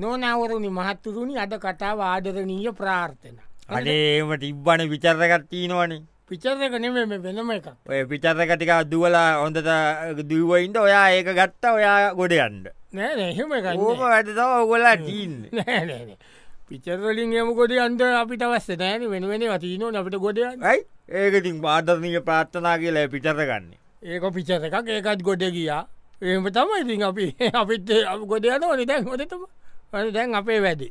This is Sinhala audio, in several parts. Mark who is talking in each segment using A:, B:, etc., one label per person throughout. A: නොනවරුණි මහත්තුරුණි අද කතාව ආදරනීය ප්‍රාර්ථන.
B: අනේම තිබ්බන විචර්රකත් තියෙනවනේ
A: පිචරක නෙම වෙනම එකක්.
B: ඔය පිචර්රක ටික දුවලා හොඳට දුවයින්ට ඔයා ඒක ගත්තා ඔයා ගොඩ යන්ඩ
A: නෑ එහෙම එකක් නෑ.
B: ඕම ඇතව ඔගොලා ටීන්
A: නෑ නෑ නෑ. පිචරලින් එම ගොඩ අන්ද අපිට අවස්ස නෑන වෙනුවෙන වතිීනෝ අපිට ගොඩයන්
B: යි ඒකතින් පාදරනය ප්‍රාත්ථනා කියලා පිචර ගන්න
A: ඒක පිචර එකක් ඒකත් ගොඩ ගියා ඒම තම ඉතින් අපි අපිත් ගොඩයන ඕනි දැන් හොදතම දැන් අපේ වැඩි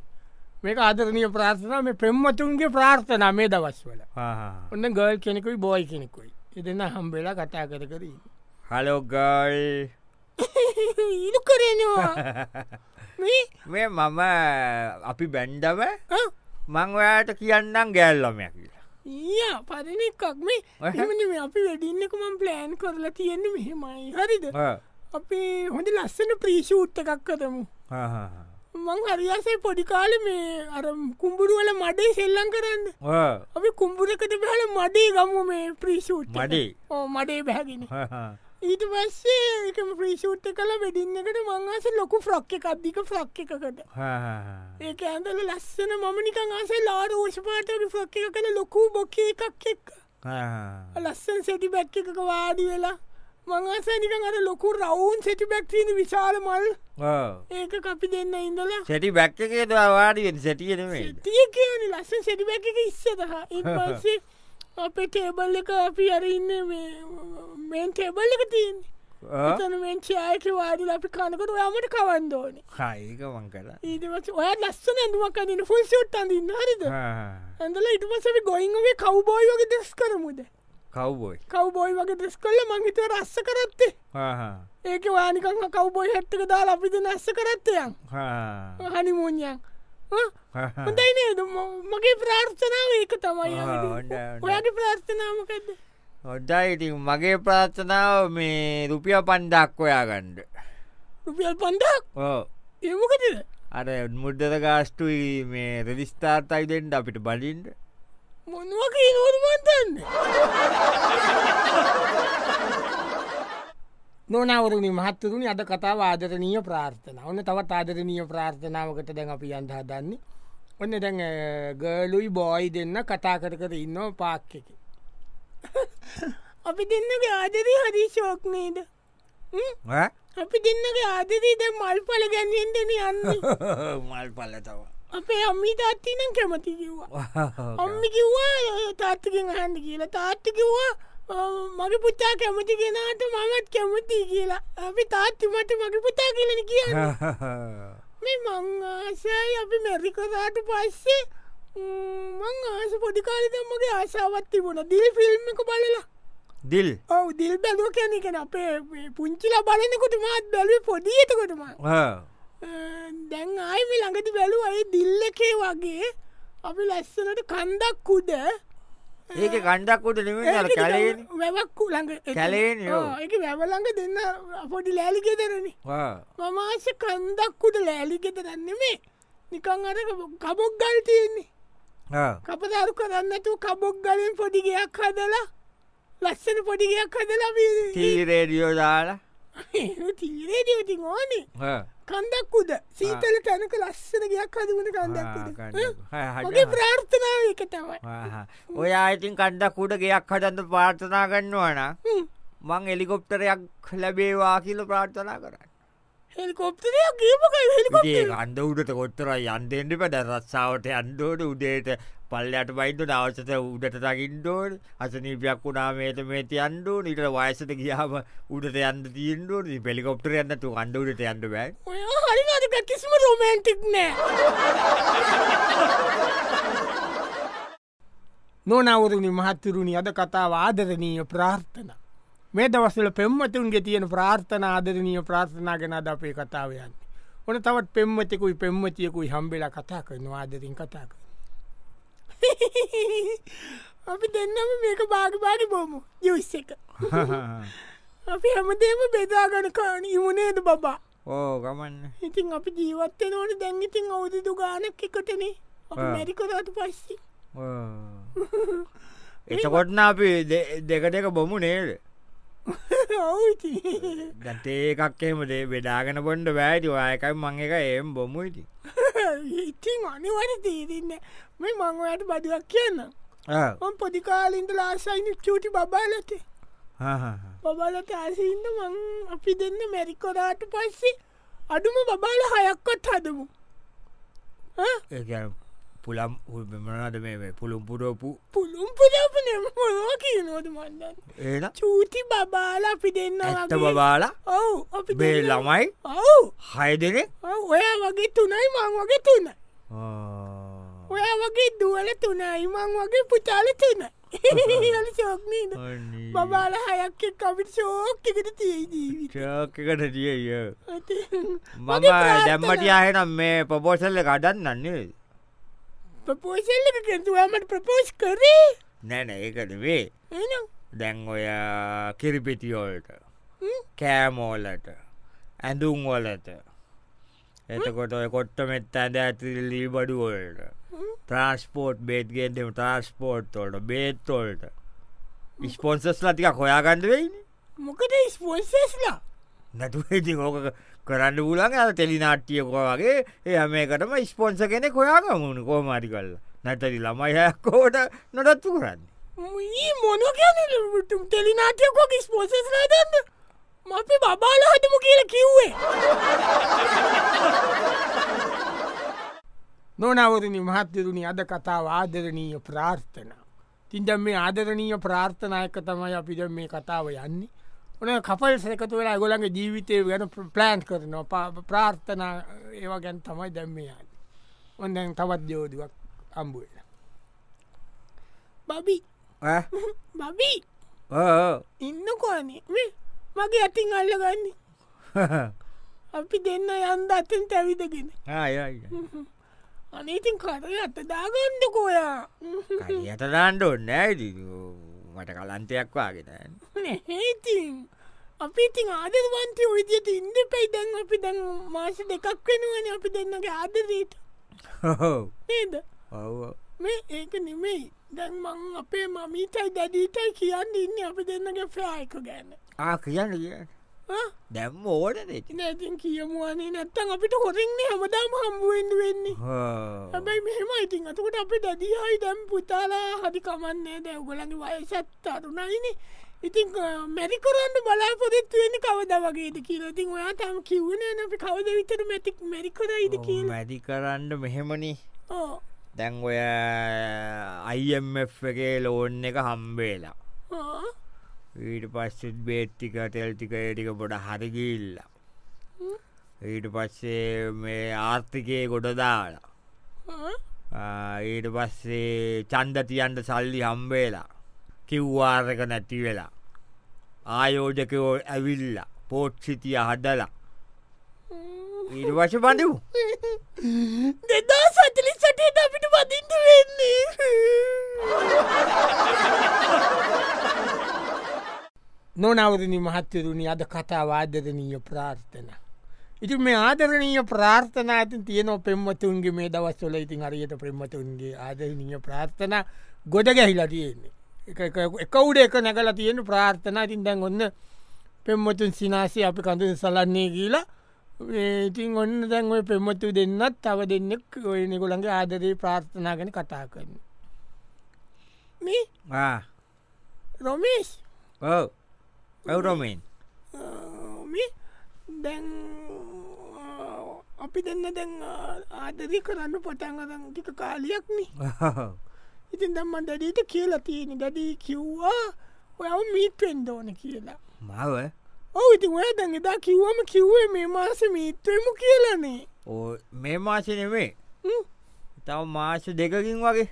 A: මේක ආදරනය ප්‍රාර්ථනා මේ පෙම්මතුන්ගේ ප්‍රාර්ථනා මේ දවස් වල ඔන්න ගල් කෙනෙකුයි බෝයි කෙනෙකුයි එදන්න හම්බෙලා කතා කර කරී
B: හලෝගල්
A: ඉලු කරනවා මේ
B: මේ මම අපි බැන්්ඩව මං ඔයාට කියන්නම් ගෑල්ලොමයක් කියලා
A: ඊය පරණ එකක් මේ
B: ඔහේ.
A: එමනි මේ අපි වැඩින්නක මම් ප්ලෑන් කරලා තියෙන මෙහෙමයි හරිද
B: ඔව්.
A: අපේ හොඳ ලස්සන ප්‍රීෂූට් එකක් කරමු
B: හා හා හා.
A: මං හරියාසේ පොඩිකාල මේ අර කුම්ඹුරුවල මඩේ සෙල්ලං කරන්න
B: ඔව්.
A: අපි කුම්ඹුරකට බැහල මඩේ ගමු මේ ප්‍රීෂූට්
B: මඩේ?
A: ඕ මඩේ බැහගෙන
B: හා හා.
A: ඊට පස්සේ එකම ප්‍රීෂූට් කල වෙඩින්නකට මංවාස ලොකු ෆ්‍රොක්් එකක්දික ෆ්‍රොක්් එකකට
B: හා හා හා.
A: ඒක ඇඳල ලස්සන මමනිකං ආසේ ලාර ෝෂපාටක ෆ්‍රොක්් එක කන ලොකු බොකේ එකක් එක්
B: හා හා.
A: ලස්සන් සෙටි බැක් එකක වාඩි වෙලා මංආසනිකන් අර ලොකු රවුන් සෙටි බැක්ටීන විශාල මල්
B: ඔව්.
A: ඒක අපි දෙන්න ඉඳලා
B: සැටි බැක්ක එකේද වාඩිෙන් සැටියනමේ
A: තිය කියන ලස්සන් සෙටිබැක එක ඉස්සදහ ඉන්පන්සේ අපේ ටේබල් එක අපි අරඉන්න මෙන් ටේබල් එක තියන්නේ තනමෙන් චායක වාඩිල අපි කනකට ඔයාමට කවන්දෝන
B: හයික මං කලා
A: ඊදවස ඔය ලස්සන ඇඳුමක් අඳන්න ෆුල් සුට් අඳන්න හරිද ඇඳල ඉටමසි ගොයින්ගේ කව්බෝයි වගේ දෙස් කරමුද
B: කව්බෝයි
A: කව්බෝයි වගේ දෙස් කල්ල මංහිතව රස්ස කරත්තේ ඒක වානිකං කව්බෝයි හැත්තක දා අපිද නැස්ස කරත්තයන් හනිමෝඥන් හ? හොඳයි නේද ම- මගේ ප්‍රාර්ථනාව ඒක තමයි
B: ආ,
A: යන්නේ.
B: හොඳයි, හොඳයි.
A: ඔයාගේ ප්‍රාර්ථනාවකද
B: හොඩයි ඉතින් මගේ ප්‍රාථනාව මේ රුපිය පණ්ඩක් ඔයා ගණ්ඩ
A: රුපියල් පන්ඩක්
B: ඕ
A: ඒමකද
B: අර මුද්දර ගාස්ටුයි මේ රෙදිස්ථාර්තයි දෙෙන්ට අපිට බලින්ට
A: මොනුවගේ නෝර්මන්තන්න නොනවරුණනි මහත්තරුණි අද කතාව ආදරනීය ප්‍රාර්ථන ඔන්න තවත් ආදරනීය ප්‍රාර්ථනාවකට දැන් අපි අන්දා දන්නේ ඔන්න දැන් ගලුයි බෝයි දෙන්න කතා කර කර ඉන්න පාක් එක අපි දෙන්නගේ ආදරී හරි ශෝක්නේද ම්? අපි දෙන්නගේ ආදරීද මල් පල ගැන්නෙන්ටන යන්න
B: මල් පල්ල තව
A: අපේ අම්මි තාත්තිනම් කැමති කිව්වා අම්මි කිව්වා "අ, තාත්තකින් අහන්න කියලා තාත්ති කිව්වා "අ, මගේ පුතා කැමති කෙනට මමත් කැමති කියලා අපි තාත්ති මට මගේ පුතා කියලන කියන්න මේ මං ආසයි අපි මැරිකදාට පස්සේ ම්, මං ආස පොඩිකාලතමගේ ආසාවත් තිබුණ දිල් ෆිල්ම් එක බලලා
B: දිල්
A: ඔව දිල් බැලුව කැනෙකෙන අපේ මේ පුංචිලා බලන්නකොට මාත් බැලුව පොඩියතකොටමා දැන් ආයම ළඟති බැලු අය දිල්ලකේ වගේ අපි ලැස්සනට කන්දක් කුඩ
B: ඒක කණ්ඩක්කොට නෙමේ අර කැලේ
A: වැවක්කු ළඟ
B: කැලේනේ, ඔව්.
A: එක වැවලඟ දෙන්න පොඩි ලෑලිගෙදරන මමාස කන්දක්කුට ලෑලිගෙත දන්නෙමේ නිකං අර කබොක් ගල් තියෙන්නේ කපදරු කරන්නතු කබොක් ගලින් පොඩිගයක් හදලා ලස්සන පොඩිගයක් හදලා
B: තීරේඩියෝ දාලා
A: තීරේඩියති ඕනේ
B: හා.
A: කන්දක්කුද සීතල තැනක ලස්සන ගයක් හදුවන කන්දක්කුද
B: කණ්ඩක්. හා, හා,
A: මගේ
B: හා.
A: ප්‍රාර්ථනාව එක තමයි
B: ආහා. ඔය අයිතින් කණ්ඩක් කුඩ ගෙයක් හටන්න පාර්ථනා ගන්නවන
A: හ්ම්.
B: මං එලිකොප්ටරයක් ලැබේවා කියල ප්‍රාර්ථනා කරන්න
A: හෙලිකොප්ටරය ගේමක හෙලිකොප්
B: ඒ අන්ඩ උඩට කොත්තර යන්දෙන්ට පට රස්සාාවට අන්ඩෝට උදේට පල්ලට බයින්ට දවසත උඩට තකින්ඩෝල් අසනීපයක් වුණාමේත මේති අන්ඩෝ නිට වයසට ගියාම උඩට යන්න තීන්ඩෝ පෙලිකොප්ටර යන්නතු අන්ඩුට යන්න බෑ
A: ඔය හරිනාදක කිසිම රොමන්ටික් නෑ නොනවරුණි මහත්තුරුණි අද කතාව ආදරනීය ප්‍රාර්ථන මේ දවස්සල පෙම්මතුන්ගේ තියෙන ප්‍රාර්ථන ආදරනීය ප්‍රාර්ථනා ගෙනද අපේ කතාවයන්න ඕන තවත් පෙම්මතෙකුයි පෙම්මතියකුයි හම්බෙලා කතා කරනවා ආදරින් කතා කර අපි දෙන්නම මේක භාගභාග බොමු යුස් එක අපි හැමදේම බෙදාගන කාන ඉමුණේද බබා
B: ඕ ගමන්න
A: ඉතින් අපි ජීවත්තය ඕන දැන්ගිතින් අවුදුදු ගානක් එකටනේ අප
B: ආ.
A: මැරිකොදාට පස්සි
B: එතකොටන අපි දෙකට එක බොමු නේද
A: ඔවුති
B: ගතේ එකක්කෙම දේ වෙඩාගෙන පොන්ඩ බෑටි වායකයි මං එක ඒම් බොමුයිති
A: ඉතින් අනිවට තීරන්න මේ මංවයට බඩුවක් කියන්න ඔම් පොඩිකාලින්ට ලාසයින චූටි බබාලතේ බබලට ඇසින්න මං අපි දෙන්න මැරිකොරාට පස්සේ අඩුම බබාල හයක්කොත් හදමු ඈ?
B: ඒ පුළම් මනද මේ පුළුම් පුරෝපු
A: පුළුම් පුරපන මොවා කියනෝද මන්දන්න
B: ඒන
A: චූටි බබාල අපි දෙන්න
B: ඇත්ත බබාල
A: ඔවු අපි
B: මේ ළමයි
A: ඔවු
B: හය දෙනෙ
A: ඔයා වගේ තුනයි මං වගේ තුන ඔයා වගේ දුවල තුනයි මං වගේ පුචාල තුන ශෝක්නීද බබාල හයක් එක්ක අපිට ශෝක්කට තිය ජීවිත
B: චෝකට දිය මම
A: මගේ ප්‍රාර්ථනා-
B: දැම්මට යාහෙනම් මේ පොපෝසල්ල කඩන්න නන්නේ
A: ප්‍රපෝෂල්ලක කෙතුවාමට ප්‍රපෝෂ් කරේ
B: නැන ඒකට වේ
A: එනම්
B: දැන් ඔය කිරිපිටියෝල්ට කෑමෝලට ඇඳුම් වලට එතකොට ඔය කොට්ට මෙත් ඇද ඇතිලී බඩුවලට ට්‍රස්පෝට් බේත්ගේෙන්ම ට්‍රස්පෝට්තොලට බේත්තොල්ට ඉස්පොන්සස් ලතික කොයාගන්ඩ වෙයින
A: මොකද ස්පෝන්සස්ලා
B: නැටුවේති ඕක කරන්න පුලන් ඇ තෙලිනාට්ටියකෝ වගේ එය මේකටම ස්පොන්ස කෙනෙ කොයාගමුණු කෝමරි කල්ල නැතරි ළමයිහකෝට නොටත්තු කරන්න
A: මී මොන කියනටම් තෙලිනාටයකොක ස්පෝසස්ලා දන්න මපි බබාල හටම කියල කිව්වේ නොනවරණ මහත්තරුණි අද කතාව ආදරණීය ප්‍රාර්ථනා තින්ද මේ ආදරණීය ප්‍රාර්ථනායක තමයි අපිට මේ කතාව යන්නේ ඕන කපල් සැකතු වෙලා ගොලන්ගේ ජීවිතය ගැන ප්ලෑන්් කරනවා පා- ප්‍රාර්ථනා ඒවා ගැන් තමයි දැම්ම යන්න ඔොන්දැන් තවත් යෝදුවක් අම්බුවෙන බබි
B: ඈ?
A: බබී
B: ඕ,
A: ඉන්නකෝනේ මේ මගේ ඇතින් අල්ලගන්න
B: ඕ.
A: අපි දෙන්න යන්ද අතෙන් තැවිදගෙන
B: ආ, ඒ, ඒ.
A: අනේතින් කරය අත දාගන්ඩකෝයා
B: යටරන්ඩ ඔන්න ඇති මට කලන්තයක් වගේතන්
A: හේතින් අපි ඉතින් ආදර්වන්තය විදියට ඉන්ද පැයි දැන් අපි දැන් මාස දෙකක් වෙනුවන අපි දෙන්නගේ ආදරීට
B: හෝ
A: නේද
B: ඔව
A: මේ ඒක නෙමෙයි දැන් මං අපේ මමීතයි දැඩීටයි කියන්න ඉන්න අපි දෙන්නගේ ෆ්‍රායික ගැන
B: ආ කියන්න කිය දැම් ඕඩ දෙති
A: ඉතිනැතින් කියමුවනේ නැත්තන් අපිට හොරින්නේ හමදාම හම්බුවෙන්ඩ වෙන්නේ හැබැයි මෙහෙම ඉතින් අතකට අපි දැදිහයි දැම් පුතාලා හරි කමන්නේ දැ උගලගේ වයසත් අරුණයිනේ ඉතින් මැරිකරන්න බලාපොරත්තුවෙන්න කවද වගේද කියලා ඉතින් ඔයා තම කිවන අපි කවද විතර මැතික් මැරිකරයිද කියලා
B: මැදි කරන්න මෙහෙමනි
A: ඕ
B: දැන් ඔය අයිF එකේ ලෝන් එක හම්බේලා
A: ආ.
B: ඊට පස්සෙත් බේට්ටික තෙල්ටික ඒටික බොඩ හරිගිල්ල
A: හ්ම්.
B: ඊට පස්සේ මේ ආර්ථිකය ගොඩ දාලා
A: ආ.
B: ආ, ඊට පස්සේ චන්ද තියන්ට සල්ලි හම්බේලා කිව්වාර්ක නැති වෙලා ආයෝජකෝ ඇවිල්ල පෝට්සිතිය හදලා
A: ම්ම්.
B: ඊට වශ බඳව්
A: දෙදා සතලි සටේට අපිට වදින්ට වෙන්නේ නොනවරණ මහත්තරුණි අද කතාව ආදරණීය ප්‍රාර්ථන. ඉති මේ ආදරණීය ප්‍රාර්ථනාතින් තියන පෙම්මතුන්ගේ මේ දවස්වල ඉතින් අරියට ප්‍රෙම්මතුන්ගේ ආදරණීය ප්‍රාර්ථන ගොඩ ගැහිලා තියෙන්නේ. එකවුඩ එක නැකලා තියෙන ප්‍රාර්ථනා ඉතින් දැන් ඔන්න පෙම්මතුන් සිනාසේ අපි කඳුන් සලන්නේ කියලා ඒ ඉතින් ඔන්න දැන් ඔය පෙම්මතු දෙන්නත් තව දෙන්නෙක් ඔයනෙකුළන්ගේ ආදරී ප්‍රාර්ථනා ගැන කතා කරන්න. මේ රොමේෂ්
B: ඔව ඇවරොමෙන්
A: මේ දැන් අපි දෙන්න දැන් ආදරී කරන්න පොටන් අරන් ටික කාලයක්න ඉතින් දම්ම දැඩීට කියලා තියෙන දැඩී කිව්වා ඔයව මීට්‍රෙන්ඩ ඕන කියලා
B: මව
A: ඔව ඉති ඔය දැන් එදා කිව්වම කිව්වේ මේ මාස මීත්‍රයමු කියලනේ
B: ඕ මේ මාසනවේ
A: හ්ම්.
B: තව මාස දෙකකින් වගේ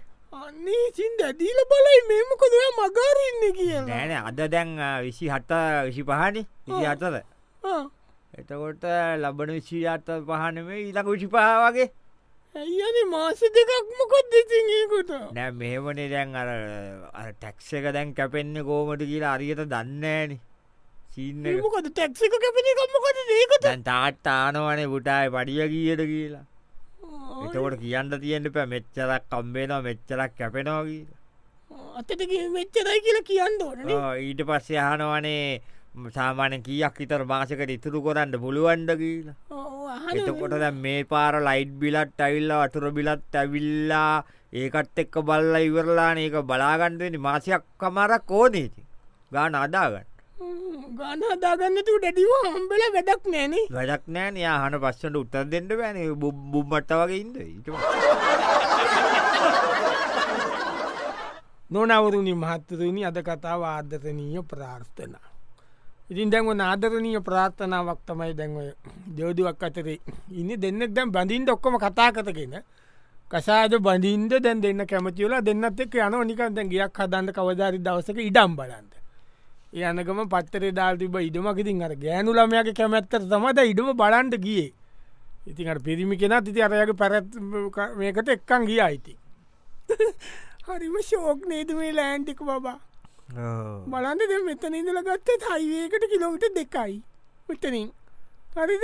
A: අන්නේ සින් දැඩීල බලයි මේමකොද මගාරන්න කියලා
B: නෑන අද දැන් විසි හත්තා විසි පහනි විසි
A: ඔව්.
B: අතද
A: ආ.
B: එතකොට ලබන විසි අත්ත පහනමේ ඊලක විසිිපා වගේ
A: ඇයියනේ මාස දෙකක් මොකොත් දෙසිකොට
B: නෑ මෙහෙමනේ දැන් අර ටැක්ස එක දැන් කැපෙන්න්න කෝමට කියලා අරියට දන්නෑන සිීන්න
A: මොකද ටැක්සික කැපිනිකම්මකොට දේකට
B: දැන් තාත් ආනවනේ පුටායි පඩිය කියට කියලා එතකොට කියන්න තියෙන්ට පැ මෙච්චරක් කම්බේනවා මෙච්චරක් කැපෙනවා කියලා
A: අතට ගිහින් මෙච්චරයි කියලා කියන්න ඕනන
B: ආ, ඊට පස්සේ ආනවනේ සාමාන කියක් විතර භාසකට ඉතුරු කොරන්න පුළුවන්ඩ කියලා
A: අහන
B: එතකොට දැන් මේ පාර ලයිට් බිලට් ඇවිල්ල වටුර බිලත් ඇවිල්ලා ඒකත් එක්ක බල්ල ඉවරලාන ඒක බලාගන්ඩුවනි මාසියක් කමරක් ඕනේති ගාන අදාගන්න
A: ගාන හදාගන්නතු ඩැඩිව හම්බෙල වැඩක් නෑනේ
B: වැඩක් නෑන යාහන පස්සට උත්තර දෙෙන්ට වැන බුම්බට වගේ ඉද ඉට
A: නොනවරුණි මහත්තරුණි අද කතාව ආදරණීය ප්‍රාර්ථනා. ඉතින් දැන්ව නාදරණීය ප්‍රාර්ථනාවක් තමයි දැන්වය දෝදුවක් අතරේ ඉන්න දෙන්නෙක් දැම් බඳින්ට ඔක්කොම කතා කතගෙන කසාද බඳින්ද දැන් දෙන්න කැමතිවලා දෙන්නත් එක් යන නිකන්ද ගයක් හදන්ට කවදාරි දවසක ඉඩම් බලන්ට. යනකම පත්තරේ දාල්තිබ ඉඩමකිතින් අර ගෑනු ළමයක කැමැත්තර තමද ඉඩම බලන්ට ගියේ. ඉතින් පිරිමි කෙනත් ඉති අරයගේ පැරැත් මේකට එක්කන් ගිය අයිති. හරිම ශෝක් නේද මේ ලෑන්ටික බබා බලන්ද දෙ මෙතන ඉඳල ගත්තත් හයිවේකට කිලෝවිට දෙකයි මෙතනින් හරිද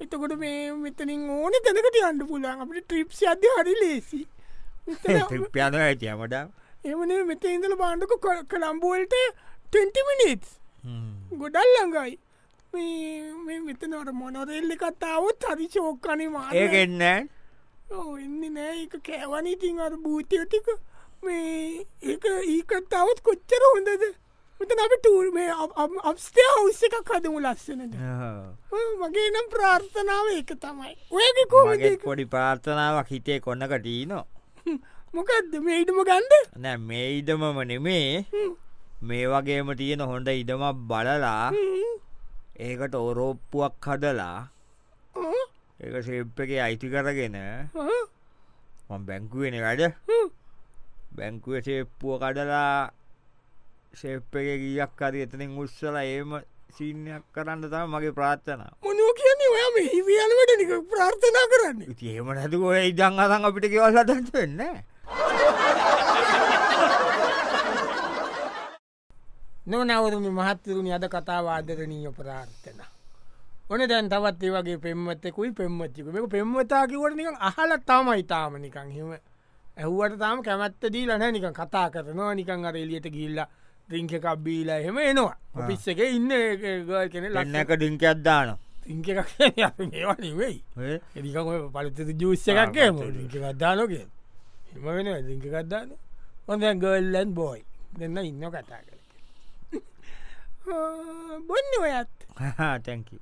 A: එතකොට මේ මෙතනින් ඕන තැනකට අන්ඩ පුලාන් අපට ට්‍රිප් අද හරි ලේසි
B: පියන ඇතියමට
A: එමන මෙත ඉඳල බාණ්ඩක කළම්බුවලට 20 මිනිස් ගොඩල් ළඟයි මේ- මේ මෙතනට මොනොරෙල්ලි කතාවත් හරි ශෝක්කනේ මා
B: ඒක එන්න
A: එන්න නෑ එක කෑවන ඉතින් අර භූතියටික මේ ඒක ඒකත්තාවත් කොච්චර හොඳද මෙත අප ටූර් මේ අපස්ටේ හවස්ස එකක් හදමු ලස්සනද මගේ නම් ප්‍රාර්ථනාව ඒක තමයි ඔයක
B: මගේ
A: කෝමක
B: පොඩි පාර්ථනාවක් හිතේ කොන්නකට ඊනෝ
A: මොකක්ද මේටම ගන්ඩ
B: නෑ මේ ඉඩමම නෙමේ මේ වගේම තියෙන හොඳ ඉඩමක් බලලා ඒකට ඔරෝප්පුුවක් හදලා ඒක ශේප් එක අයිති කරගෙන මං බැංකුවෙන වැඩ බැංකුව ශේප්පුුව කඩලා ශේප් එක ගියක් අරි එතනින් උත්සල ඒම සිීනයක් කරන්න තම මගේ ප්‍රාත්ථනාව
A: මොනෝ කියන්නේ ඔයාම හිවියලවට නික ප්‍රාර්ථනා කරන්න
B: ඉති ඒම නැතු ඔය ඉදන් අතන් අපිට කෙවල් අදන්ට වෙන්න
A: නොනවරුණ මහත්තරුණි අද කතාවාදරනීය ප්‍රාර්ථන. ඕන දැන් තවත් ඒ වගේ පෙම්මතෙකුයි පෙම්මච්චික මේක පෙම්මතා කිවට නික අහල තමයි තාම නිකං හෙම ඇහුවට තාම කැමත්ත දී ලන නික කතා කරනවා නිකං අර එලියට ගිල්ල රිංක එකක් බීලා එහෙම එනවා ඔපිස් එක ඉන්න ගල් කෙන
B: ලන්න
A: ලන්න
B: එක ඩිංක අද්දාන
A: රිංක එකක් ඒවා නෙවෙයි එදික පලිත ජූස්ස එකක්ේ රිංක ගත්දානොක එම වෙන රිංක ගත්දාන හොඳ ගල්ලන් බෝයි දෙන්න ඉන්න කතා කර බොන්න ඔයත්
B: තැකි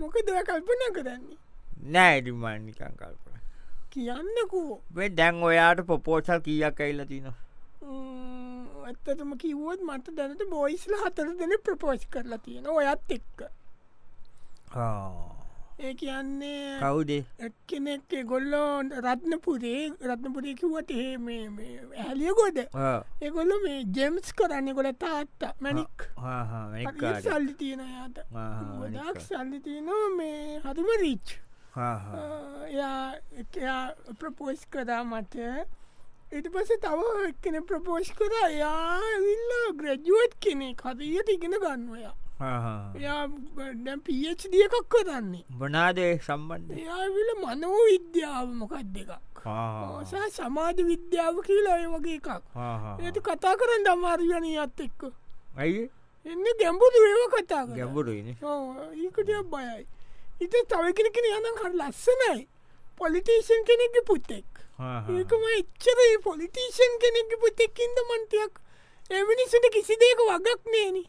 A: මොක දව කල්පන කරන්නේ
B: නෑ ඉඩිමානිකන් කල්පන
A: කියන්නකෝ
B: වෙ දැන් ඔයාට පොපෝසල් කියක් ඇල්ල තිනවා
A: ඇත්තටම කිවුවත් මට දැනට බෝයිස්ල හතර දෙන ප්‍රපෝෂ් කරලා තියෙන ඔයත් එක්ක ඒ කියන්නේ
B: කවුදේ
A: එක්කෙනෙක් ගොල්ලෝ රත්නපුරේ රත්නපුරේ කිව්වට ඒ මේ මේ ඇහලිය ගොඩ ඒගොල්ල මේ ජෙම්ස් කරන්න ගොල තාත්තා මැනික් සල්ලි තියෙන යාත ගොඩක් සල්ලි තියනවා මේ හතුම රිච් එයා එකයා ප්‍රපෝෂ් කරා මට ඉට පස තව එක්කෙන ප්‍රපෝෂ් කරා එයා විල්ල ග්‍රජුවට් කෙනෙක් හදයට ඉගෙන ගන්නවයා එයා දැම් පිච් දියකක් කරන්නේ
B: බනාදේ සම්බන්ධය
A: එයා විල මනෝ විද්‍යාව මොකක් දෙකක් සහ සමාධ විද්‍යාව කියලා ඒ වගේ එකක් ඒතු කතා කරන්න අමාර්ගනයත් එක්ක
B: ඇයි
A: එන්න ගැම්බුදු ඒව කතා කර
B: ගැඹුරුයින
A: ඒකටයක් බයයි ඉත තවකෙනකෙන යනම් කර ලස්සනයි පොලිටේෂන් කෙනෙක්ග පුත්තෙක්
B: Iya,
A: ඒකම එච්චරයි පොලිටේෂන් කෙනෙක්ග පුතෙක්කින්ද මන්තියක් එමනිසට කිසි දෙක වගක් නේනි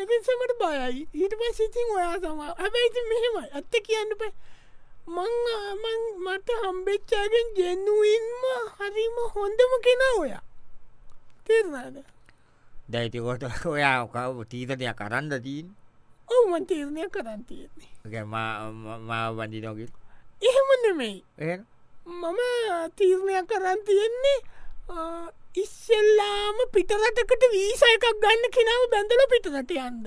A: ඒකසමට බයයි ඊට පස් ඉතින් ඔයා සම හැබැයිති මෙහෙම ඇත්ත කියන්න ප මං ආමන් මට හම්බෙච්චාගෙන් ජැනුවන්ම හරිම හොඳම කෙනා ඔයා තේරනාද
B: දැයිතිකොට ඔයා කව තීතනය කරන්න දීන්
A: ඔවුමන් තීරණය කරන්න තියෙන්නේ
B: මා වඩිනොකින්
A: එහෙම නෙමෙයි
B: එ
A: මම තීරණය කරන්න තියෙන්නේ අ, ඉස්සෙල්ලාම පිටරටකට වීස එකක් ගන්න කෙනාව බැඳල පිටරට යන්ද